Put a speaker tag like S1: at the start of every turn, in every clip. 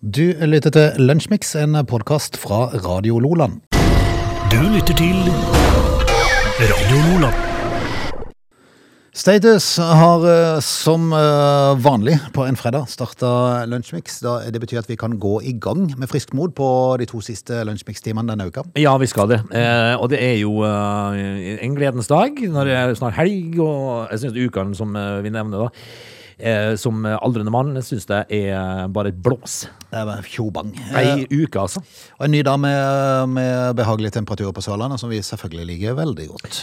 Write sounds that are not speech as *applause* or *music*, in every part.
S1: Du lytter til Lunsjmix, en podkast fra Radio Loland.
S2: Du lytter til Radio Nordland.
S1: Status har eh, som eh, vanlig på en fredag starta Lunsjmix. Da- Det betyr at vi kan gå i gang med frisk mot på de to siste Lunsjmix-timene denne uka.
S3: Ja, vi skal det. Eh, og det er jo eh, en gledens dag. Når det er snart helg, og jeg syns ukene som eh, vi nevner, da. Eh, som aldrende mann syns det er bare et blås.
S1: Det er tjobang. Eh,
S3: Ei uke, altså.
S1: Og en ny dag med, med behagelige temperaturer på Sørlandet, som vi selvfølgelig liker veldig godt.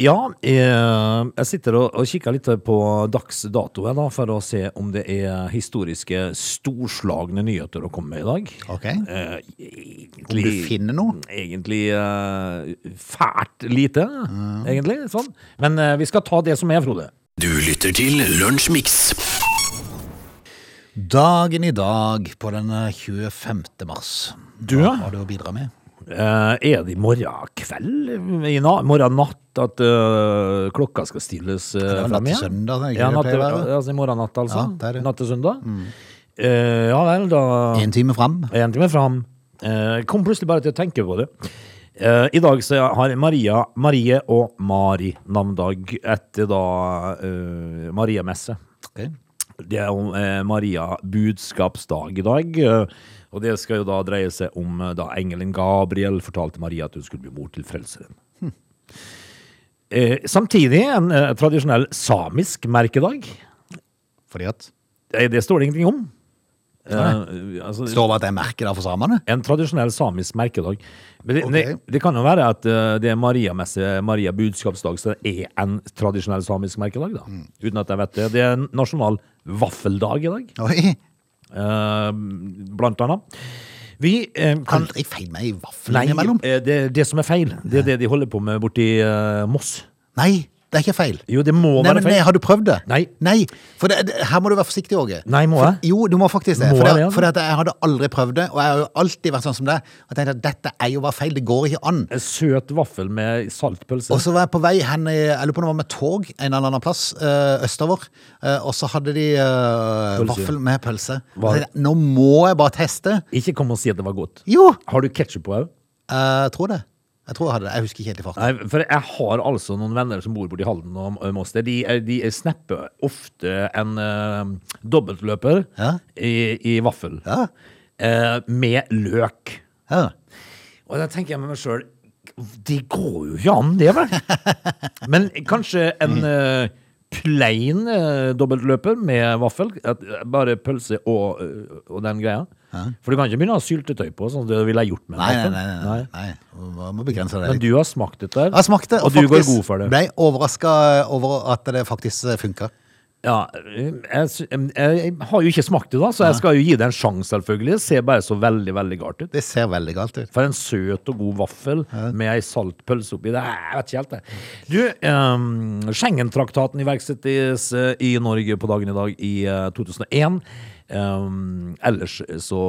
S3: Ja, eh, jeg sitter og, og kikker litt på dags dato her, da, for å se om det er historiske, storslagne nyheter å komme med i dag.
S1: Ok?
S3: Eh,
S1: Om du
S3: egentlig-
S1: finner noe?
S3: egentlig eh, fælt lite, egentlig. Sånn. Men eh, vi skal ta det som er, Frode.
S2: Du lytter til Lunsjmix.
S1: Dagen i dag på den eh, 25. mars.
S3: Du,
S1: Hva
S3: ja.
S1: har du å bidra med?
S3: Eh, er det i morgen kveld, i na morgen natt, at eh, klokka skal stilles eh,
S1: det var
S3: frem
S1: natt til
S3: igjen?
S1: søndag, det er ikke
S3: ja,
S1: det
S3: natt,
S1: det pleier å være?
S3: altså i morgen natt, altså.
S1: Ja, det er det. Mm.
S3: Natt til søndag. Eh, ja vel, da
S1: Én time fram?
S3: er en time fram. Eh, jeg kom plutselig bare til å tenke på det. Eh, I dag så har Maria, Marie og Mari navndag etter da eh, Maria Messe.
S1: Ok.
S3: Det er om eh, Maria budskapsdag i dag. eh, Og det skal jo da dreie seg om eh, da engelen Gabriel fortalte Maria at hun skulle bli mor til frelseren. Eh, samtidig en eh, tradisjonell samisk merkedag.
S1: Fordi at
S3: Eh, Det står det ingenting om. Eh, altså,
S1: Står det at det er merket der for samene?
S3: en tradisjonell samisk merkedag. Men det,
S1: Ok.
S3: det, det kan jo være at eh, det er Maria-messe, Maria budskapsdag, så det er en tradisjonell samisk merkedag, da. Uten at jeg vet det. Det er en nasjonal vaffeldag i dag.
S1: Oi!
S3: Eh, blant annet. Vi eh, kan
S1: Aldri feil meg i vaffelen
S3: Nei,
S1: innimellom.
S3: eh, det er det som er feil. Det er det de holder på med borti eh, Moss.
S1: Nei, det er ikke feil.
S3: Jo, det må
S1: Nei,
S3: være
S1: men
S3: feil.
S1: nei, Har du prøvd det?
S3: Nei.
S1: For det, det, her må du være forsiktig, Åge.
S3: Nei, må jeg?
S1: Jo, du må faktisk det.
S3: Må
S1: For,
S3: jeg
S1: det,
S3: det, altså?
S1: for at jeg hadde aldri prøvd det, og jeg har jo alltid vært sånn som deg. Og tenkt at dette er jo bare feil, det går ikke an.
S3: En Søt vaffel med saltpølse.
S1: Og så var jeg på vei hen i, jeg lurer på om det var med tog en eller annen plass, eh, østover. eh, og så hadde de eh,
S3: Pølse.
S1: vaffel med pølse. Og
S3: Var-
S1: så tenkte jeg, Nå må jeg bare teste.
S3: Ikke kom og si at det var godt.
S1: Jo!
S3: Har du ketsjup på òg?
S1: Eh, Jeg tror det. Jeg tror jeg hadde det. Jeg husker ikke helt i farten.
S3: Nei, for jeg har altså noen venner som bor borti Halden og og Moss. der. De, er- de er snapper ofte en eh, dobbeltløper
S1: Ja.
S3: i, i vaffel
S1: Ja.
S3: eh, med løk.
S1: Ja.
S3: Og da tenker jeg med meg sjøl Det går jo ikke an,
S1: *laughs*
S3: det, vel? Men kanskje en
S1: Mm.
S3: eh, plain eh, dobbeltløper med vaffel? At, eh, bare pølse og, eh, og den greia? For du kan ikke begynne å ha syltetøy på, sånn som det ville jeg gjort med en
S1: Nei, nei,
S3: vaffel.
S1: nei. nei, nei. Man må begrense det.
S3: Men du har smakt dette, her,
S1: Jeg smakte,
S3: og, du går god for det.
S1: ble overraska over at det faktisk eh, funka.
S3: Ja, jeg, sy- jeg har jo ikke smakt det, da, så jeg skal jo gi det en sjanse, selvfølgelig. Det ser bare så veldig, veldig galt ut.
S1: Det ser veldig galt ut.
S3: For en søt og god vaffel med ei saltpølse oppi. Det er- Jeg vet ikke helt, det. Du, ehm, Schengen-traktaten iverksettes eh, i Norge på dagen i dag i eh, 2001. Ehm, ellers så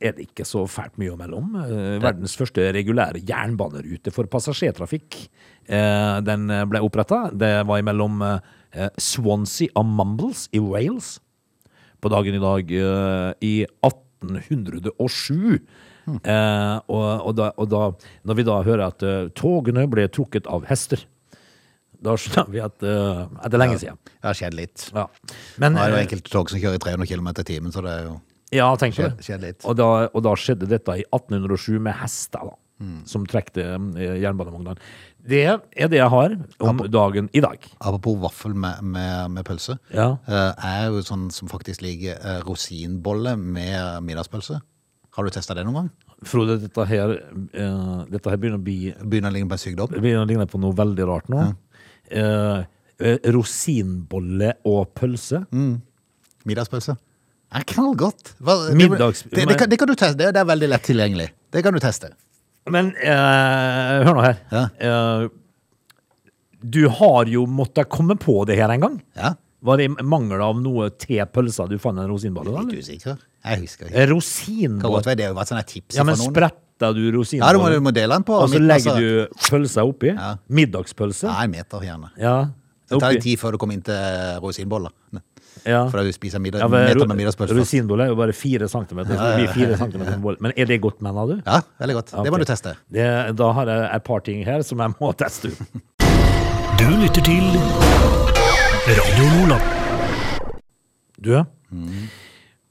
S3: er det ikke så fælt mye å melde om. Eh, verdens første regulære jernbanerute for passasjertrafikk. eh, den ble oppretta. Det var mellom Swansea og Mumbles i Wales på dagen i dag eh, i 1807. Eh, og, og, da, og da, når vi da hører at eh, togene ble trukket av hester, da skjønner vi at, eh, at det er lenge siden.
S1: Det har skjedd litt.
S3: Ja. Men
S1: Nå er det jo
S3: eh,
S1: enkelte tog som kjører i 300 km i timen, så det er jo
S3: ja, tenk på
S1: Skjedd- skjedd
S3: det.
S1: litt.
S3: Og da, og da skjedde dette i 1807 med hester, da.
S1: Mm.
S3: Som trekte eh, jernbanevognene. Det er det jeg har om dagen i dag.
S1: Apropos vaffel med, med, med pølse.
S3: Ja.
S1: Eh, Jeg er jo sånn som faktisk liker eh, rosinbolle med middagspølse. Har du testa det noen gang?
S3: Frode, dette her, eh, dette her begynner å bli
S1: Begynner å ligne på en sykdom?
S3: Det begynner å ligne på noe veldig rart nå. Eh, eh, rosinbolle og pølse.
S1: Middagspølse? Er knallgodt. Hva-
S3: Middags-
S1: Det, det, det, kan, det kan du teste. Det, det er veldig lett tilgjengelig. Det kan du teste.
S3: Men eh, hør nå her.
S1: Ja.
S3: Eh, du har jo måttet komme på det her en gang.
S1: Ja.
S3: Var det i mangel av noe til pølsa du fant en rosinbolle? da,
S1: Litt
S3: eller?
S1: usikker. Jeg husker ikke.
S3: Eh,
S1: Kan godt
S3: Rosinbolle?
S1: være det har vært sånne tips
S3: Ja, men
S1: fra noen.
S3: spretter
S1: Ja, du
S3: du
S1: må, du
S3: rosinbollen,
S1: må dele den på.
S3: og så
S1: midten, altså.
S3: legger du pølsa oppi?
S1: Ja.
S3: Middagspølse?
S1: Nei, en meter gjerne.
S3: Ja.
S1: Det tar
S3: oppi.
S1: litt tid før du kommer inn til rosinboller. Ne.
S3: Ja.
S1: Fordi du spiser middag,
S3: Ja, men
S1: meter
S3: ru-
S1: med middagspølse. altså. først.
S3: Rosinbolle er jo bare fire centimeter. så det blir fire centimeter
S1: *laughs*
S3: bolle. Men er det godt, mener du?
S1: Ja, veldig godt. Det
S3: Ok.
S1: må du teste.
S3: Det, da har jeg et par ting her som jeg må *laughs* teste ut.
S2: Du lytter til Radio Nordland.
S3: Du,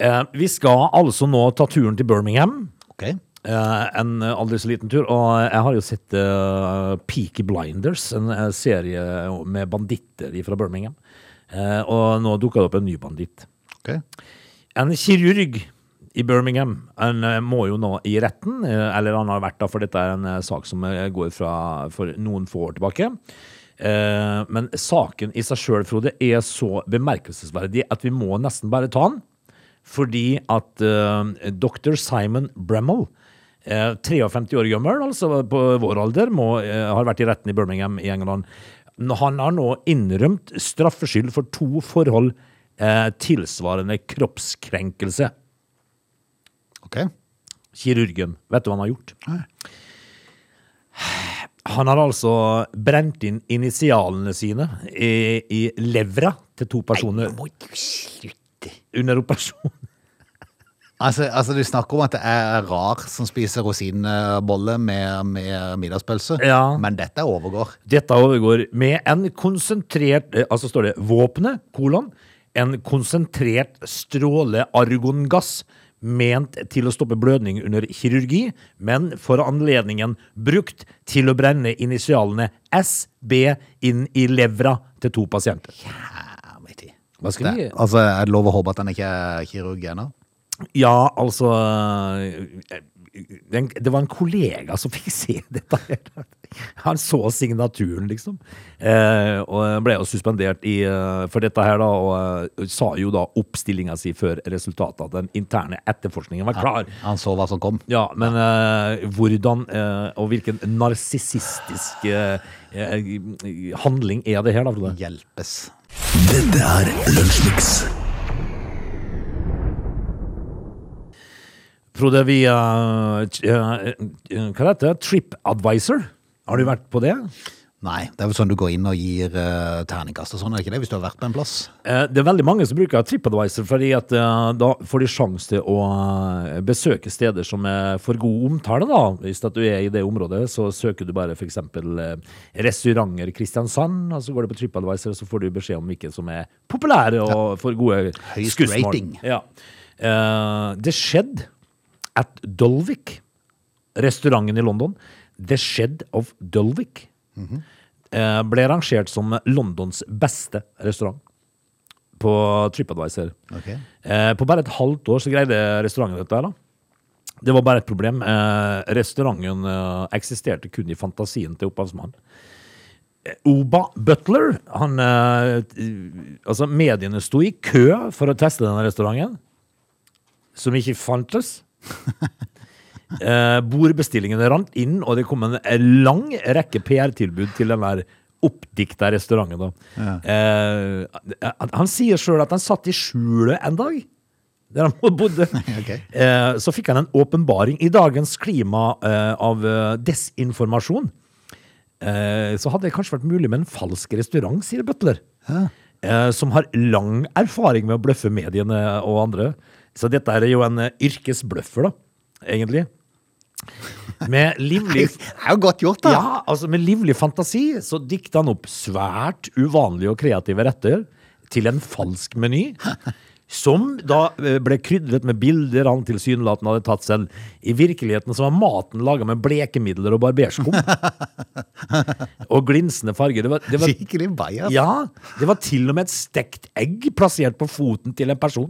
S3: eh, vi skal altså nå ta turen til Birmingham.
S1: Ok.
S3: Eh, en aldri så liten tur. Og jeg har jo sett eh, Peaky Blinders, en eh, serie med banditter fra Birmingham. Eh, og nå dukker det opp en ny banditt.
S1: ok.
S3: En kirurg i Birmingham han eh, må jo nå i retten, eh, eller han har vært da, for dette er en eh, sak som eh, går fra for noen få år tilbake. Eh, Men saken i seg sjøl, Frode, er så bemerkelsesverdig at vi må nesten bare ta den. Fordi at eh, dr. Simon Bremmel, eh, 53 år gammel, altså på vår alder, må, eh, har vært i retten i Birmingham i England. Nå- Han har nå innrømt straffskyld for to forhold eh, tilsvarende kroppskrenkelse.
S1: ok.
S3: Kirurgen, vet du hva han har gjort? Han har altså brent inn initialene sine i, i levra til to personer under operasjon.
S1: Altså, altså, du snakker om at det er rar som spiser rosinbolle med, med middagspølse,
S3: Ja.
S1: men dette overgår.
S3: Dette overgår med en konsentrert eh, Altså står det våpenet, kolon, en konsentrert stråle argongass ment til å stoppe blødning under kirurgi, men for anledningen brukt til å brenne initialene SB inn i levra til to pasienter.
S1: Jævlig tid.
S3: Hva skal vi-
S1: Det- Altså, er det lov å håpe at han ikke er kirurg ennå?
S3: Ja, altså eh, den, Det var en kollega som fikk *laughs* se dette. her. Han så signaturen, liksom. Eh, og ble jo suspendert i, eh, for dette her, da. Og eh, sa jo da oppstillinga si før resultatet, at den interne etterforskningen var klar.
S1: Han så hva som kom.
S3: Ja, men eh, hvordan eh, og hvilken narsissistisk eh, eh, handling er det her, da, Frode?
S1: Hjelpes.
S2: Dette er Lunsjmix.
S3: Frode, vi eh, t- eh, eh, Hva heter det? TripAdvisor? Har du vært på det?
S1: Nei, det er vel sånn du går inn og gir eh, terningkast og sånn, er det ikke det? Hvis du har vært på en plass.
S3: Eh, Det er veldig mange som bruker TripAdvisor, fordi at eh, da får de sjanse til å eh, besøke steder som er for god omtale, da. Hvis at du er i det området, så søker du bare f.eks. restauranter Kristiansand, og så går du på TripAdvisor, og så får du beskjed om hvilke som er populære og får gode
S1: Høyest
S3: skussmål.
S1: rating.
S3: Ja. Eh, Det skjedde at Dolvik, restauranten i London, The Shed of Dolvik, eh, ble rangert som Londons beste restaurant på TripAdvisor.
S1: Ok.
S3: Eh, på bare et halvt år så greide restauranten dette her, da. Det var bare et problem. Eh, restauranten eh, eksisterte kun i fantasien til opphavsmannen. Eh, Oba Butler, han eh, t- Altså, mediene sto i kø for å teste denne restauranten, som ikke fantes. Eh, bordbestillingene rant inn, og det kom en lang rekke PR-tilbud til den der oppdikta restauranten. Da. Eh, han, han sier sjøl at han satt i skjulet en dag, der han *laughs* bodde.
S1: Ok.
S3: Eh, så fikk han en åpenbaring. I dagens klima eh, av eh, desinformasjon eh, så hadde det kanskje vært mulig med en falsk restaurant, sier Butler. Eh, som har lang erfaring med å bløffe mediene og andre. Så dette er jo en eh, yrkesbløffer, da, egentlig. Med livlig
S1: Det er jo godt gjort, da.
S3: ja, altså med livlig fantasi så dikta han opp svært uvanlige og kreative retter til en falsk meny. Som da eh, ble krydret med bilder han tilsynelatende hadde tatt selv. I virkeligheten så var maten laga med blekemidler
S1: *laughs*
S3: og barberskum. og glinsende farger. Det var, det var,
S1: Skikkelig bajas.
S3: ja, det var til og med et stekt egg plassert på foten til en person.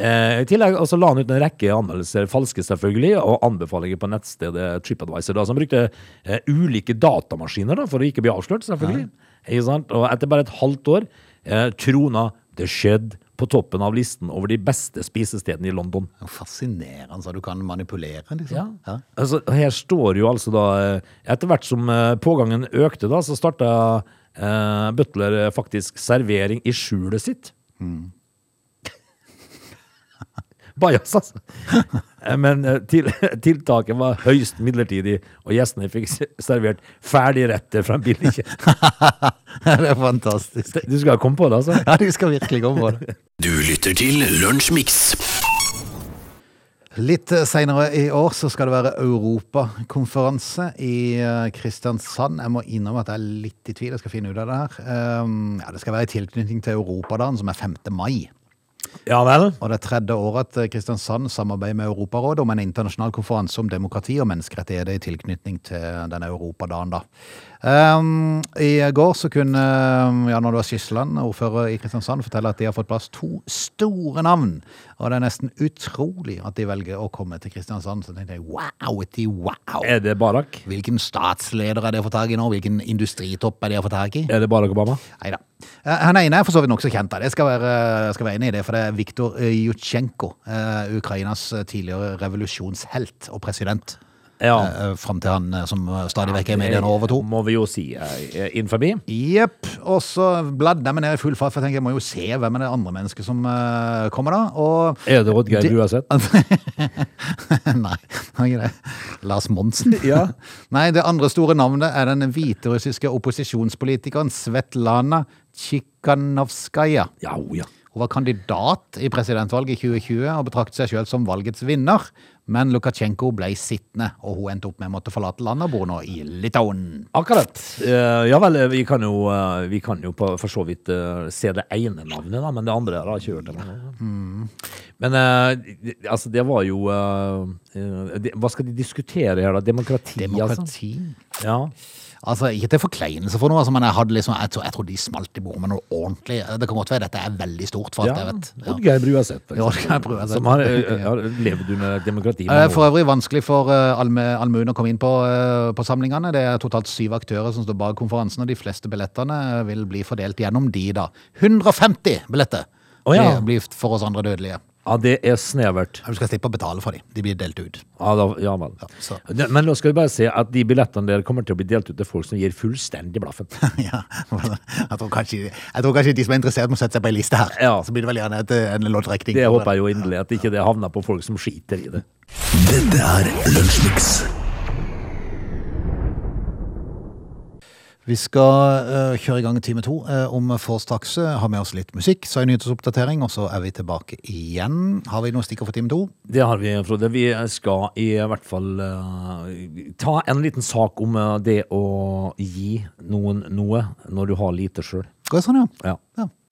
S3: Eh, I tillegg og så la han ut en rekke anmeldelser, falske selvfølgelig, og anbefalinger på nettstedet TripAdvisor, da, som brukte eh, ulike datamaskiner da, for å ikke bli avslørt, selvfølgelig. Ikke sant? Og etter bare et halvt år eh, trona The Shed på toppen av listen over de beste spisestedene i London.
S1: Fascinerende så du kan manipulere, liksom.
S3: Ja.
S1: Ja. *laughs*
S3: Altså, her står jo altså da eh, Etter hvert som eh, pågangen økte, da, så starta eh, Butler eh, faktisk servering i skjulet sitt. Bajas, altså. Men eh, til, *laughs* tiltaket var høyst midlertidig, og gjestene fikk s- servert ferdigretter fra en billigkjede.
S1: det er fantastisk.
S3: Du skal komme på det, altså?
S1: Ja, du skal virkelig gå på det.
S2: Du lytter til Lunsjmix.
S1: Litt eh, senere i år så skal det være europakonferanse i eh, Kristiansand. Jeg må innrømme at jeg er litt i tvil, jeg skal finne ut av det her. Um, Ja, det skal være i tilknytning til Europadagen, som er 5. mai.
S3: Ja vel?
S1: Og det er tredje året at eh, Kristiansand samarbeider med Europarådet om en internasjonal konferanse om demokrati og menneskerettigheter i tilknytning til denne europadagen. da. Ehm, I går så kunne eh, ja, når det var Skisland, ordfører i Kristiansand, fortelle at de har fått plass to store navn. Og det er nesten utrolig at de velger å komme til Kristiansand. Så tenkte jeg wow, etter wow!
S3: Er det Barak?
S1: Hvilken statsleder er det å få tak i nå? Hvilken industritopp er det å få tak i?
S3: Er det Barack Obama?
S1: Neida. Eh, Han ene er for så vidt nokså kjent. da. Jeg skal være, jeg skal være enig i det, for det er Viktor Jutsjenko. eh, Ukrainas tidligere revolusjonshelt og president.
S3: Ja.
S1: Eh, Fram til han eh, som stadig vekk er i mediene over to.
S3: Må vi jo si eh, inn forbi.
S1: Jepp. Og så bladde jeg meg ned i full fart, for jeg tenker jeg må jo se hvem er det andre mennesket som eh, kommer, da. Og *laughs*
S3: Er det Oddgeir
S1: Det-
S3: du har sett?
S1: Nei, det var ikke det. Lars Monsen.
S3: *laughs* Ja.
S1: Nei, det andre store navnet er den hviterussiske opposisjonspolitikeren Svetlana Tsikhanovskaja.
S3: Ja, o ja.
S1: Hun var kandidat i presidentvalget i 2020 og betraktet seg selv som valgets vinner. Men Lukasjenko ble sittende, og hun endte opp med å måtte forlate landet og bor nå i Litauen.
S3: sånn. Akkurat. Eh, ja vel, eh, vi kan jo, eh, vi kan jo på, for så vidt eh, se det ene navnet, da, men det andre har jeg ikke hørt om.
S1: Mm.
S3: Men eh, det- altså, det var jo eh, eh, det, Hva skal de diskutere her, da? Demokrati, altså?
S1: Demokrati.
S3: Ja.
S1: Altså, Ikke til forkleinelse for noe, altså, men jeg, hadde liksom, jeg, tror, jeg tror de smalt i bordet med noe ordentlig. Det kan godt være dette er veldig stort for alt
S3: ja.
S1: jeg vet. Ja.
S3: Oddgeir Bruaseth. for
S1: Ja,
S3: eksempel,
S1: Oddgeir Bruaseth.
S3: Som har, eh, har levd under demokrati.
S1: Eh,
S3: mange år.
S1: For øvrig vanskelig for eh, Alme, Almuen å komme inn på, eh, på samlingene. Det er totalt syv aktører som står bak konferansen, og de fleste billettene eh, vil bli fordelt gjennom de, da. 150 billetter
S3: Å, ja.
S1: blir- blir for oss andre dødelige.
S3: Ja, det er snevert.
S1: Du skal slippe å betale for dem. De blir delt ut.
S3: Ja, da, ja vel.
S1: Ja, så. *laughs*
S3: Ne- Men nå skal vi bare se at de billettene der kommer til å bli delt ut til folk som gir fullstendig
S1: *laughs*
S3: blaffen.
S1: ja, jeg, tror kanskje, jeg tror kanskje de som er interessert, må sette seg på ei liste her.
S3: Ja.
S1: Så blir det vel gjerne et, eh, en loddtrekning.
S3: Det håper jeg jo inderlig, at ikke det havner på folk som skiter i det.
S2: Dette er Lunsjmix.
S1: Vi skal eh, kjøre i gang time to eh, om forårstakse. Har med oss litt musikk, så en nyhetsoppdatering, og så er vi tilbake igjen. Har vi noen stikker for time to?
S3: Det har vi, Frode. Vi skal i hvert fall eh, ta en liten sak om eh, det å gi noen noe når du har lite sjøl.
S1: Går det sånn, ja?
S3: Ja.
S1: ja.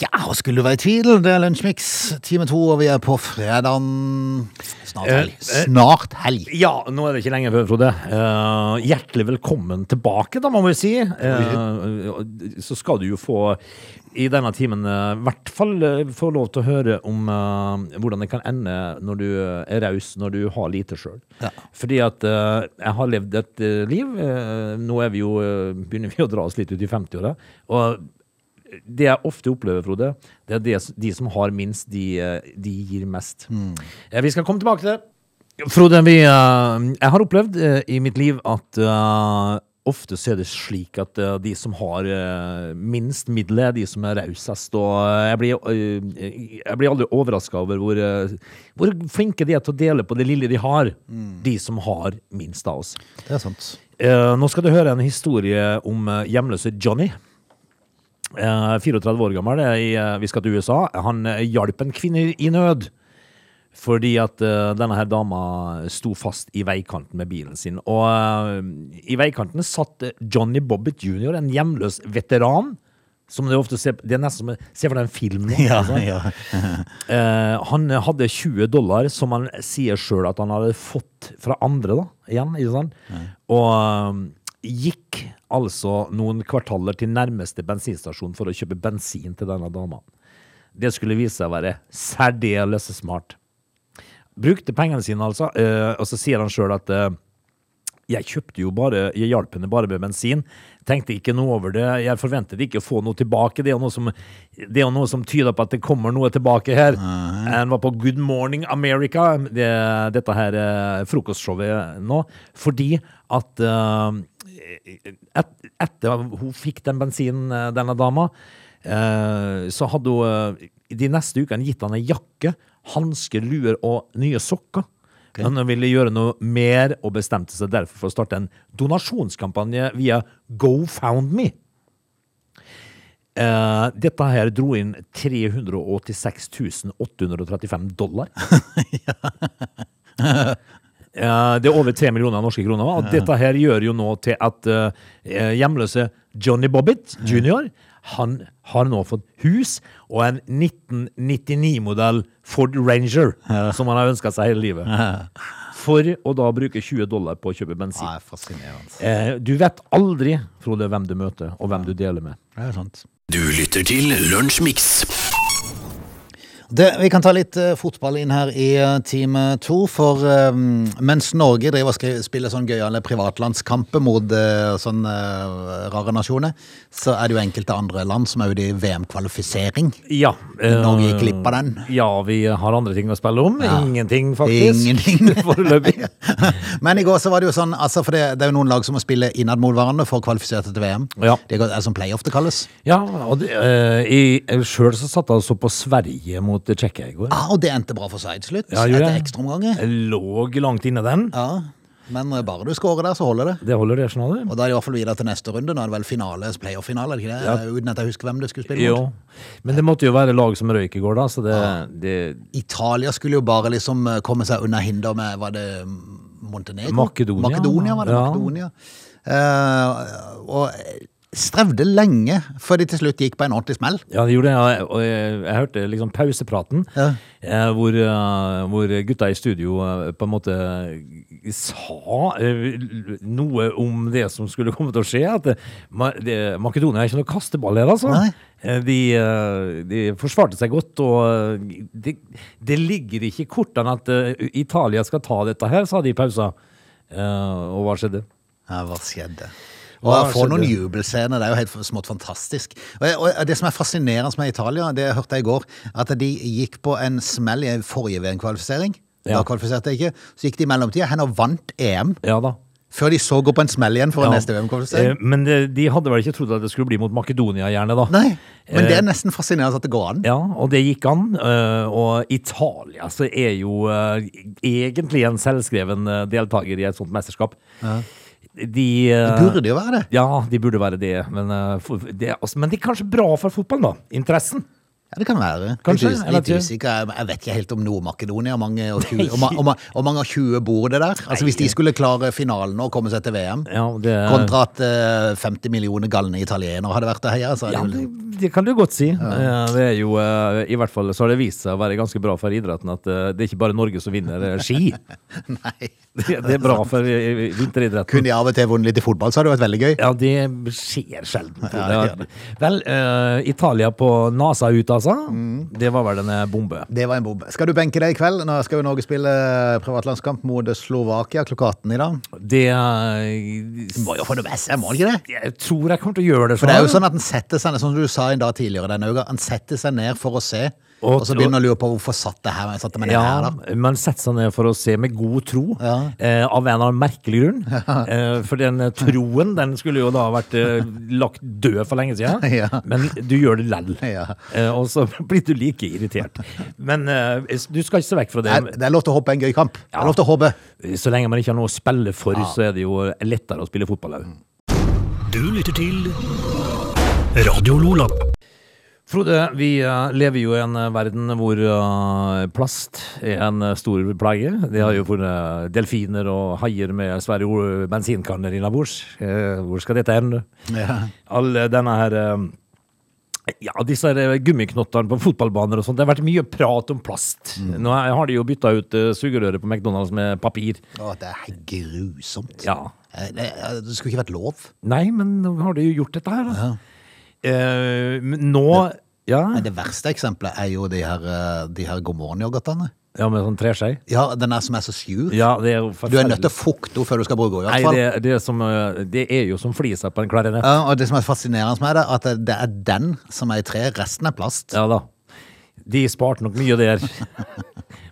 S1: Ja, og skulle du være i tvil, det er Lunsjmix time to, og vi er på fredagen Snart helg.
S3: Eh, eh.
S1: Snart helg.
S3: ja, nå er det ikke lenge før, Frode. Eh, hjertelig velkommen tilbake, da, må vi si. Eh, så skal du jo få i denne timen eh, i hvert fall eh, få lov til å høre om eh, hvordan det kan ende når du eh, er raus når du har lite sjøl.
S1: Ja.
S3: Fordi at eh, jeg har levd et eh, liv. eh, nå er vi jo, eh, begynner vi å dra oss litt ut i 50-åra. Og det jeg ofte opplever, Frode, det er det, s- de som har minst, de, eh, de gir mest. Eh, Vi skal komme tilbake til det. Frode, vi, eh, jeg har opplevd eh, i mitt liv at eh, ofte så er det slik at eh, de som har eh, minst midler, er de som er rausest. Og eh, jeg blir, eh, jeg blir aldri overraska over hvor, eh, hvor flinke de er til å dele på det lille de har. De som har minst av oss.
S1: Det er sant.
S3: Eh, nå skal du høre en historie om eh, hjemløse Johnny. Eh, 34 år gammel. eh, i, eh, vi skal til USA. Han eh, hjalp en kvinne i nød. Fordi at eh, denne her dama sto fast i veikanten med bilen sin. Og eh, i veikanten satt eh, Johnny Bobbitt jr., en hjemløs veteran. Som det ofte ser Det er nesten som å se for deg en film. nå,
S1: *laughs* Ja,
S3: altså.
S1: ja.
S3: Eh, han hadde 20 dollar, som han sier sjøl at han hadde fått fra andre, da, igjen, ikke sant? Og um, gikk altså noen kvartaler til nærmeste bensinstasjon for å kjøpe bensin til denne dama. Det skulle vise seg å være særdeles smart. Brukte pengene sine, altså, eh, og så sier han sjøl at eh, Jeg kjøpte jo bare, jeg hjalp henne bare med bensin. Tenkte ikke noe over det. Jeg forventet ikke å få noe tilbake. Det er jo noe som, det er jo noe som tyder på at det kommer noe tilbake her. Han var på Good Morning America, det, dette her eh, frokostshowet nå, fordi at eh, et, Etter hun fikk den bensinen, eh, denne dama, eh, så hadde hun eh, de neste ukene gitt han ei jakke, hansker, luer og nye sokker. Men han ville gjøre noe mer og bestemte seg derfor for å starte en donasjonskampanje via GoFoundMe. Eh, dette her dro inn 386 835 dollar. Eh, det er over 3 millioner norske kroner. Og dette her gjør jo nå til at eh, hjemløse Johnny Bobbitt jr. Han har nå fått hus og en 1999-modell Ford Ranger som han har ønska seg hele livet. For å da bruke 20 dollar på å kjøpe bensin.
S1: Nei, fascinerende.
S3: Eh, du vet aldri, Frode, hvem du møter, og hvem du deler med.
S1: Det er sant.
S2: Du lytter til Lunsjmix.
S1: Det, vi kan ta litt eh, fotball inn her i eh, time to. For eh, mens Norge driver og skri- spiller sånn gøyale privatlandskamper mot eh, sånne eh, rare nasjoner, så er det jo enkelte andre land som er ute i VM-kvalifisering.
S3: Ja. eh,
S1: Norge gikk glipp av den.
S3: Ja, vi har andre ting å spille om.
S1: Ja.
S3: Ingenting, faktisk.
S1: Ingenting.
S3: *laughs*
S1: *laughs*
S3: Foreløpig.
S1: Men i går så var det jo sånn, altså for det, det er jo noen lag som må spille innad mot hverandre for å kvalifisere til VM.
S3: Ja.
S1: Det er det som playoff det kalles.
S3: Ja, og det, eh, i- selv så satt jeg og så på Sverige mot Tsjekkia i går.
S1: Ah, og det endte bra for Sveits slutt,
S3: Ja, gjorde
S1: etter
S3: jeg.
S1: ekstraomganger.
S3: Jeg lå langt inne den.
S1: Ja. Men eh, bare du scorer der, så holder det.
S3: Det holder det, skjønner du.
S1: Og da er det i hvert fall videre til neste runde. Nå er det vel finale, playoff-finale, er det ikke det? Uten at jeg husker hvem det skulle spille mot.
S3: Jo. Men det måtte jo være lag som røyk i går, da, så det, det
S1: Italia skulle jo bare liksom eh, komme seg unna hinder med Var det Montenegro?
S3: Makedonia.
S1: Makedonia var det,
S3: Ja.
S1: Makedonia. Eh, og strevde lenge før de til slutt gikk på en ordentlig smell.
S3: Ja, det gjorde det. og jeg- Og jeg, jeg hørte liksom pausepraten,
S1: Ja.
S3: eh, hvor, eh, hvor gutta i studio eh, på en måte sa eh, noe om det som skulle komme til å skje. At eh, Ma- det, Makedonia er ikke noe kasteball her, altså.
S1: Nei.
S3: Eh, De, eh, de forsvarte seg godt, og eh, det, det ligger ikke i kortene at eh, Italia skal ta dette her, sa de i pausa. Eh, og hva skjedde?
S1: Ja, hva skjedde? Og
S3: Hva
S1: få noen
S3: skjedde?
S1: jubelscener, det er jo helt smått fantastisk. Og, og det som er fascinerende med Italia, det hørte jeg i går, at de gikk på en smell i forrige VM-kvalifisering. Da
S3: Ja.
S1: kvalifiserte jeg ikke. Så gikk de i mellomtida hen og vant EM,
S3: Ja da.
S1: før de så går på en smell igjen for
S3: Ja.
S1: neste VM-kvalifisering.
S3: Eh, Men eh, de hadde vel ikke trodd at det skulle bli mot Makedonia, gjerne, da.
S1: Nei, men det
S3: Eh,
S1: er nesten fascinerende at det går an.
S3: Ja, og det gikk an. eh, Og Italia så er jo eh, egentlig en selvskreven eh, deltaker i et sånt mesterskap. De eh,
S1: Det burde jo være det.
S3: Ja, de burde være det. Men, eh, for- det er også, men det er kanskje bra for fotballen, da. Interessen.
S1: Ja, det kan være.
S3: Kanskje,
S1: litt, us-
S3: eller
S1: litt
S3: at du-
S1: usikker. Jeg- Jeg vet ikke helt om Nord-Makedonia og mange og
S3: *laughs*
S1: tjue- og ma- og ma- og mange av 20 bor det der. Altså Hvis de skulle klare finalen og komme seg til VM,
S3: Ja, det,
S1: kontra at eh, 50 millioner galne italienere hadde vært der heia, så er
S3: ja,
S1: det vel
S3: det, det kan du godt si. Eh, Det er jo, eh, I hvert fall så har det vist seg å være ganske bra for idretten at eh, det er ikke bare Norge som vinner eh, ski.
S1: *laughs*
S3: *laughs*
S1: Nei.
S3: Det, det er bra for eh, vinteridretten.
S1: Kunne de av og til vunnet litt i fotball, så hadde det vært veldig gøy.
S3: Ja, det skjer sjelden. Frode.
S1: Ja, det gjør det.
S3: Vel, eh, Italia på NASA ut, altså.
S1: Mm.
S3: Det var vel en eh, bombe.
S1: Det var en bombe. Skal du benke deg i kveld? Nå skal jo Norge spille eh, privatlandskamp mot Slovakia klokka 18 i dag.
S3: Det eh,
S1: Må jo få det med seg, må det ikke det?
S3: Jeg tror jeg kommer til å gjøre det.
S1: For det er jo sånn at han setter seg ned, som du sa en dag tidligere denne uka, han setter seg ned for å se, og,
S3: Og-
S1: så begynner han å lure på hvorfor satt det her, satte man det her
S3: ja,
S1: da?
S3: man setter seg ned for å se med god tro,
S1: Ja.
S3: eh, av en eller annen merkelig grunn. Eh, for den eh, troen den skulle jo da vært eh, lagt død for lenge siden,
S1: *laughs* Ja.
S3: men du gjør det lell.
S1: Ja.
S3: Eh, og så *laughs* blir du like irritert. Men eh, du skal ikke se vekk fra
S1: Det
S3: det.
S1: er, det er lov til å håpe en gøy kamp. Det
S3: Ja.
S1: er lov til å håpe.
S3: Så lenge man ikke har noe å spille for, så er det jo lettere å spille fotball òg.
S2: Du lytter til Radio Lola.
S3: Frode, vi eh, lever jo i en eh, verden hvor eh, plast er en eh, stor plage. De har jo funnet eh, delfiner og haier med svære o- bensinkanner innabords. Eh, Hvor skal dette hen?
S1: Ja.
S3: All eh, denne her eh, ja, disse her, eh, gummiknottene på fotballbaner og sånt. Det har vært mye prat om plast. Nå har de jo bytta ut eh, sugerøret på McDonald's med papir.
S1: Å, det er grusomt.
S3: Ja,
S1: Eh, Det, eh, det skulle ikke vært lov.
S3: Nei, men nå har de jo gjort dette her, da. Eh, men nå Ja.
S1: Men det verste eksempelet er jo de her, eh, de her God morgen-yoghurtene.
S3: Ja, med sånn treskje.
S1: Ja, den er som er så skjur.
S3: Ja, det er jo
S1: Du er nødt til å fukte henne før du skal bruke henne, i
S3: Nei,
S1: hvert fall.
S3: det, det, er som, eh, det er jo som flisa på en klarinett.
S1: Ja, og det som er fascinerende med det, at det er den som er i tre, resten er plast.
S3: Ja da. De sparte nok
S1: *laughs*
S3: mye der.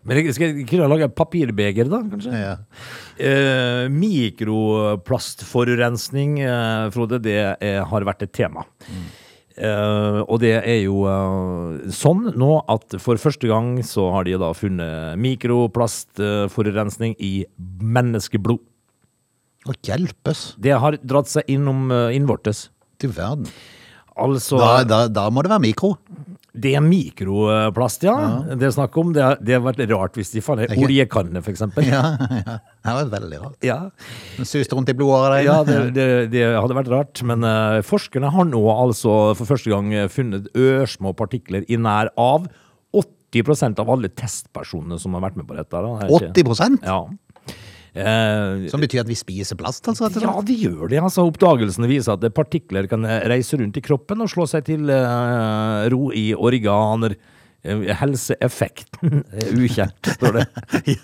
S3: Men jeg skal jeg kunne lage papirbeger, da, kanskje?
S1: Ja.
S3: Eh, mikroplastforurensning, eh, Frode, det er, har vært et tema.
S1: Mm.
S3: Eh, og det er jo eh, sånn nå at for første gang så har de da funnet mikroplastforurensning i menneskeblod.
S1: Og hjelpes
S3: Det har dratt seg innom eh, innvortes.
S1: til verden.
S3: Altså
S1: Da, da, da må det være mikro. *laughs*
S3: Det er mikroplast, ja. Det er snakk om. Det, har- det har vært rart hvis de faller
S1: Ikke-
S3: oljekanner, for eksempel.
S1: Ja, ja. Det var veldig rart.
S3: Ja,
S1: Den suste rundt i blodåret der
S3: ja
S1: inne.
S3: det, det, det hadde vært rart. Men eh, forskerne har nå altså for første gang eh, funnet ørsmå partikler i nær av 80 av alle testpersonene som har vært med på dette. Da. Det er ikke-
S1: 80
S3: Ja. Eh,
S1: Som betyr at vi spiser plast, altså? rett og
S3: ja,
S1: slett.
S3: de gjør det. altså. Oppdagelsene viser at partikler kan eh, reise rundt i kroppen og slå seg til eh, ro i organer. Eh, Helseeffekten *laughs* er ukjent,
S1: *laughs*
S3: står det. Jeg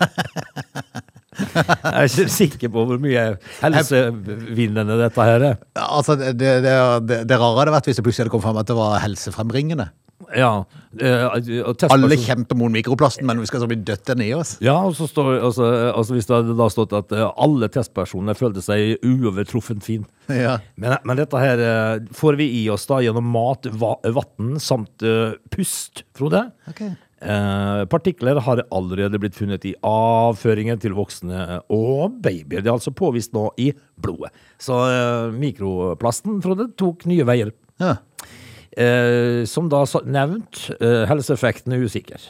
S3: er ikke sikker på hvor mye helsevinnende dette her er.
S1: Altså, det, det, det, det rare hadde vært hvis det plutselig hadde kommet fram at det var helsefremringende.
S3: Ja, eh, og testperson-
S1: Alle kjemper mot mikroplasten, men vi skal så bli dødt den i oss.
S3: Ja, og så står, altså, altså Hvis det hadde da stått at eh, alle testpersonene følte seg uovertruffent fin.
S1: Ja.
S3: Men, men dette her eh, får vi i oss da gjennom mat, vann samt eh, pust, Frode.
S1: Ok.
S3: Eh, partikler har allerede blitt funnet i avføringen til voksne og babyer. Det er altså påvist nå i blodet. Så eh, mikroplasten, Frode, tok nye veier.
S1: Ja.
S3: Eh, som da sa- nevnt, eh, helseeffekten er usikker.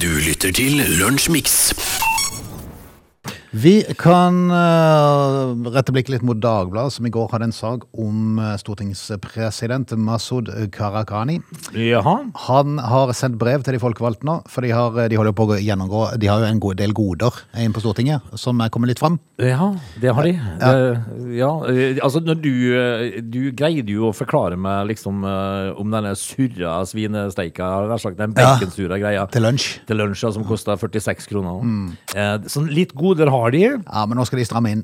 S2: Du lytter til Lunsjmix.
S1: Vi kan eh, rette blikket litt mot Dagbladet, som i går hadde en sak om eh, stortingspresident Masud Gharahkhani.
S3: Jaha.
S1: Han har sendt brev til de folkevalgte nå, for de, har, eh, de holder på å gjennomgå De har jo en god del goder inne på Stortinget, som er kommet litt fram.
S3: Ja, det har de. Det, ja, eh, altså når du, eh, du greide jo å forklare meg liksom eh, om denne surra svinesteika, jeg har sagt, den
S1: Ja.
S3: baconsura greia.
S1: Til lunsj.
S3: Til lunsja som kosta 46 kroner. Eh, sånn litt goder har de.
S1: Ja, men nå skal de stramme inn.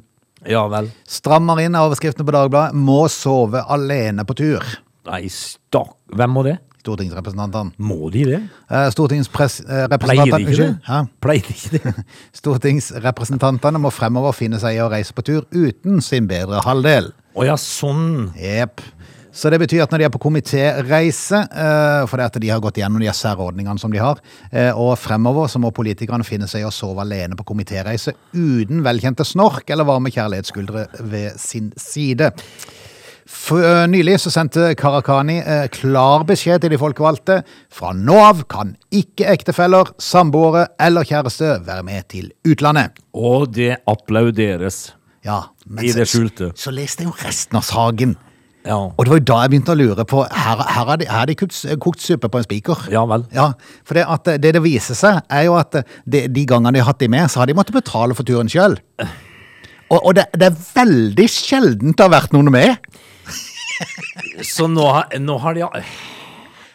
S3: Ja vel.
S1: Strammer inn er overskriftene på Dagbladet. Må sove alene på tur.
S3: Nei, stakk. Hvem må det?
S1: Stortingsrepresentantene.
S3: Må de det?
S1: Eh, Stortingspres... eh,
S3: Pleier de
S1: representantene-
S3: ikke det?
S1: Unnskyld. Hæ?
S3: Pleier de ikke det?
S1: Stortingsrepresentantene må fremover finne seg i å reise på tur uten sin bedre halvdel.
S3: Å ja, sånn.
S1: Jep. Så det betyr at når de er på komitéreise, eh, for det at de har gått gjennom de her særordningene som de har, eh, og fremover så må politikerne finne seg i å sove alene på komitéreise uten velkjente snork eller varme kjærlighetsskuldre ved sin side. F eh, nylig så sendte Karakani eh, klar beskjed til de folkevalgte. Fra nå av kan ikke ektefeller, samboere eller kjæreste være med til utlandet.
S3: Og det applauderes.
S1: Ja, men
S3: I det
S1: så-
S3: skjulte.
S1: Så, så leste jeg jo resten av saken.
S3: Ja.
S1: Og det var jo da jeg begynte å lure på Her, her har de, her har de kokt, kokt suppe på en spiker.
S3: Ja vel.
S1: Ja, For det, at det det viser seg, er jo at det, de gangene de har hatt de med, så har de måttet betale for turen sjøl. Og, og det, det er veldig sjeldent det har vært noen med.
S3: Så nå, har- nå har de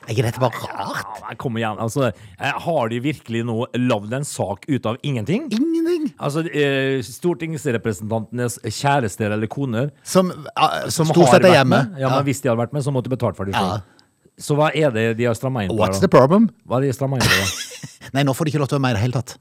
S1: Er ikke dette bare rart?
S3: Ja, men Kom igjen. Altså, eh, har de virkelig nå lagd en sak ut av ingenting?
S1: Ingenting.
S3: Altså, eh, stortingsrepresentantenes kjærester eller koner
S1: Som, ah,
S3: som
S1: som stort
S3: har
S1: sett er
S3: vært
S1: hjemme.
S3: Med, ja, men Hvis de hadde vært med, så måtte de betalt for det.
S1: Ja.
S3: selv. Så hva er det de har stramma inn på?
S1: What's
S3: da?
S1: the problem?
S3: Hva er det de stramma inn på? da?
S1: Nei, nå får de ikke lov til å være med i det hele tatt.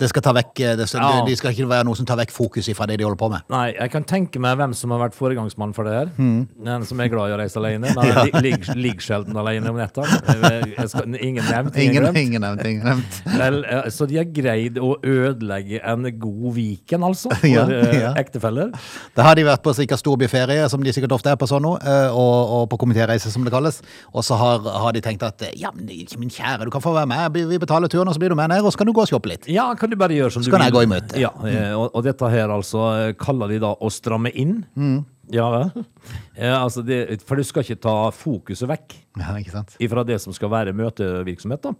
S1: Det skal ta vekk, eh, det, skal-
S3: Ja.
S1: det, de skal ikke være noe som tar vekk fokus ifra det de holder på med.
S3: Nei, jeg kan tenke meg hvem som har vært foregangsmann for det her.
S1: Hmm.
S3: Den som er glad i å reise alene,
S1: *laughs*
S3: men li- ligger ligger sjelden alene om netta. Jeg- jeg skal- Ingen nevnt, ingen
S1: Ingen,
S3: glemt.
S1: ingen nevnt, ingen nevnt.
S3: Vel, eh, så de har greid å ødelegge en god Viken, altså,
S1: *laughs*
S3: for
S1: Ja,
S3: eh,
S1: ja.
S3: ektefeller.
S1: Da har de vært på sikkert storbyferie, som de sikkert ofte er på sånn nå, eh, og, og på komitéreise, som det kalles. Og så har, har de tenkt at eh, ja, men min kjære, du kan få være med, vi betaler turen, og så blir du med ned, og så kan du gå og shoppe litt.
S3: Ja, kan du bare gjøre som du
S1: Så kan jeg gå
S3: vil.
S1: i møte. Mm.
S3: Ja, eh, og, og dette her altså eh, kaller de da å stramme inn.
S1: Mm.
S3: Ja vel. Eh, altså det, for du skal ikke ta fokuset vekk
S1: Ja, ikke sant?
S3: ifra det som skal være møtevirksomhet, da.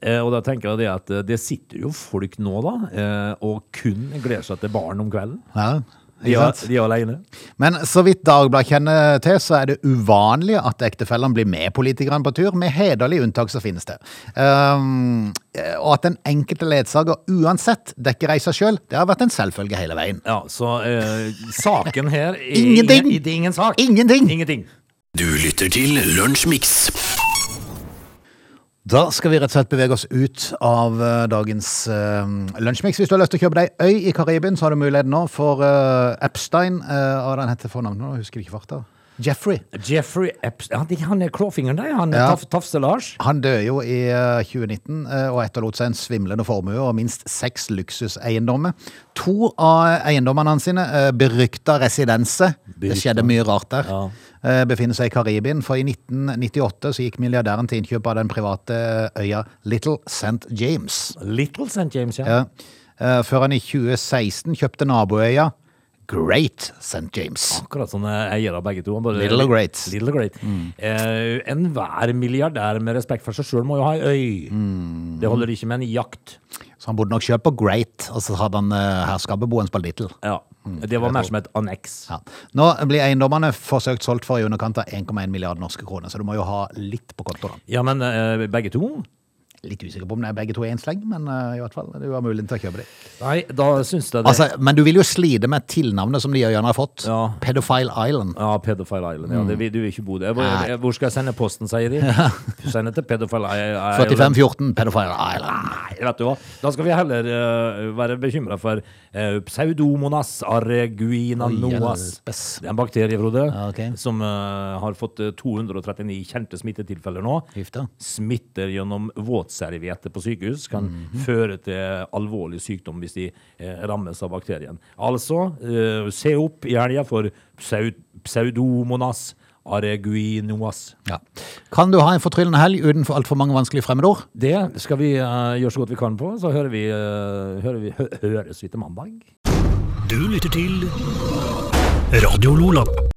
S3: Eh, og da tenker jeg det at eh, det sitter jo folk nå, da, eh, og kun gleder seg til barn om kvelden.
S1: Ja,
S3: De
S1: Ikke
S3: er,
S1: sant?
S3: de er alene.
S1: Men så vidt Dagbladet kjenner til, så er det uvanlig at ektefellene blir med politikerne på tur. Med hederlig unntak så finnes det. Ehm, og at den enkelte ledsager uansett dekker reisa sjøl, det har vært en selvfølge hele veien.
S3: Ja, så eh, saken her er
S1: Ingenting!
S3: Ingen, det er ingen sak.
S1: Ingenting!
S3: Ingenting.
S2: Du lytter til Lunsjmix.
S1: Da skal vi rett og slett bevege oss ut av eh, dagens uh, lunsjmix. Hvis du har lyst til å kjøpe deg øy i Karibien, så har du mulighet nå for eh, Epstein. Uh, hva er det han heter for navn? Nå husker jeg ikke farta. Jeffrey.
S3: Jeffrey Epps ja, det- Han er klåfingeren der, han
S1: Ja.
S3: taf, Tafse Lars.
S1: Han døde jo i eh, 2019 eh, og etterlot seg en svimlende formue og minst seks luksuseiendommer. To av eiendommene hans sine, eh, berykta residenser, det
S3: Berykta.
S1: skjedde mye rart der,
S3: Ja.
S1: eh, befinner seg i Karibien. For i 1998 så gikk milliardæren til innkjøp av den private øya Little St. James.
S3: Little St. James, ja.
S1: Ja. Eh, Før han i 2016 kjøpte naboøya Great St. James.
S3: Akkurat sånn sånne eiere begge to. Bare,
S1: Little og great. Mm.
S3: Little og great. Eh, Enhver milliardær med respekt for seg sjøl må jo ha ei øy.
S1: Mm.
S3: Det holder ikke med en jakt.
S1: Så han bodde nok sjøl på Great, og så hadde han eh, herskapeboens på Little.
S3: Ja. Mm. Det var mer som et anneks.
S1: Ja. Nå blir eiendommene forsøkt solgt for i underkant av 1,1 milliard norske kroner, så du må jo ha litt på konto. da.
S3: Ja, men eh, begge to?
S1: Litt usikker på om det er begge to i én sleng, men eh, i hvert fall, du har muligheten til å kjøpe dem.
S3: Nei, da syns jeg det.
S1: Altså, men du vil jo slite med tilnavnet som de øyene har fått.
S3: Ja.
S1: Pedophile Island.
S3: ja, Pedophile Island. Ja, det, vil- du vil ikke bo der. Hvor,
S1: Mm. Nei.
S3: hvor skal jeg sende posten, sier
S1: *laughs*
S3: de? Send det til Pedophile I- Island.
S1: 4514 Pedophile Island.
S3: Nei, vet du hva. Da skal vi heller eh, være bekymra for eh, pseudomonas areguina
S1: Oi,
S3: noas.
S1: hjelpes.
S3: Det er en bakterie, Frode,
S1: Ja, ok.
S3: som eh, har fått eh, 239 kjente smittetilfeller nå.
S1: Gifta.
S3: Smitter gjennom våtservietter på sykehus kan
S1: Mhm.
S3: føre til alvorlig sykdom hvis de eh, rammes av bakterien. Altså, eh, se opp i helga for pseu pseudomonas areguinoas.
S1: Ja. Kan du ha en fortryllende helg uten for altfor mange vanskelige fremmedord?
S3: Det skal vi eh, gjøre så godt vi kan på, så hører vi, eh, hører vi hø høres vi til mandag.
S4: Du lytter til Radio Lola.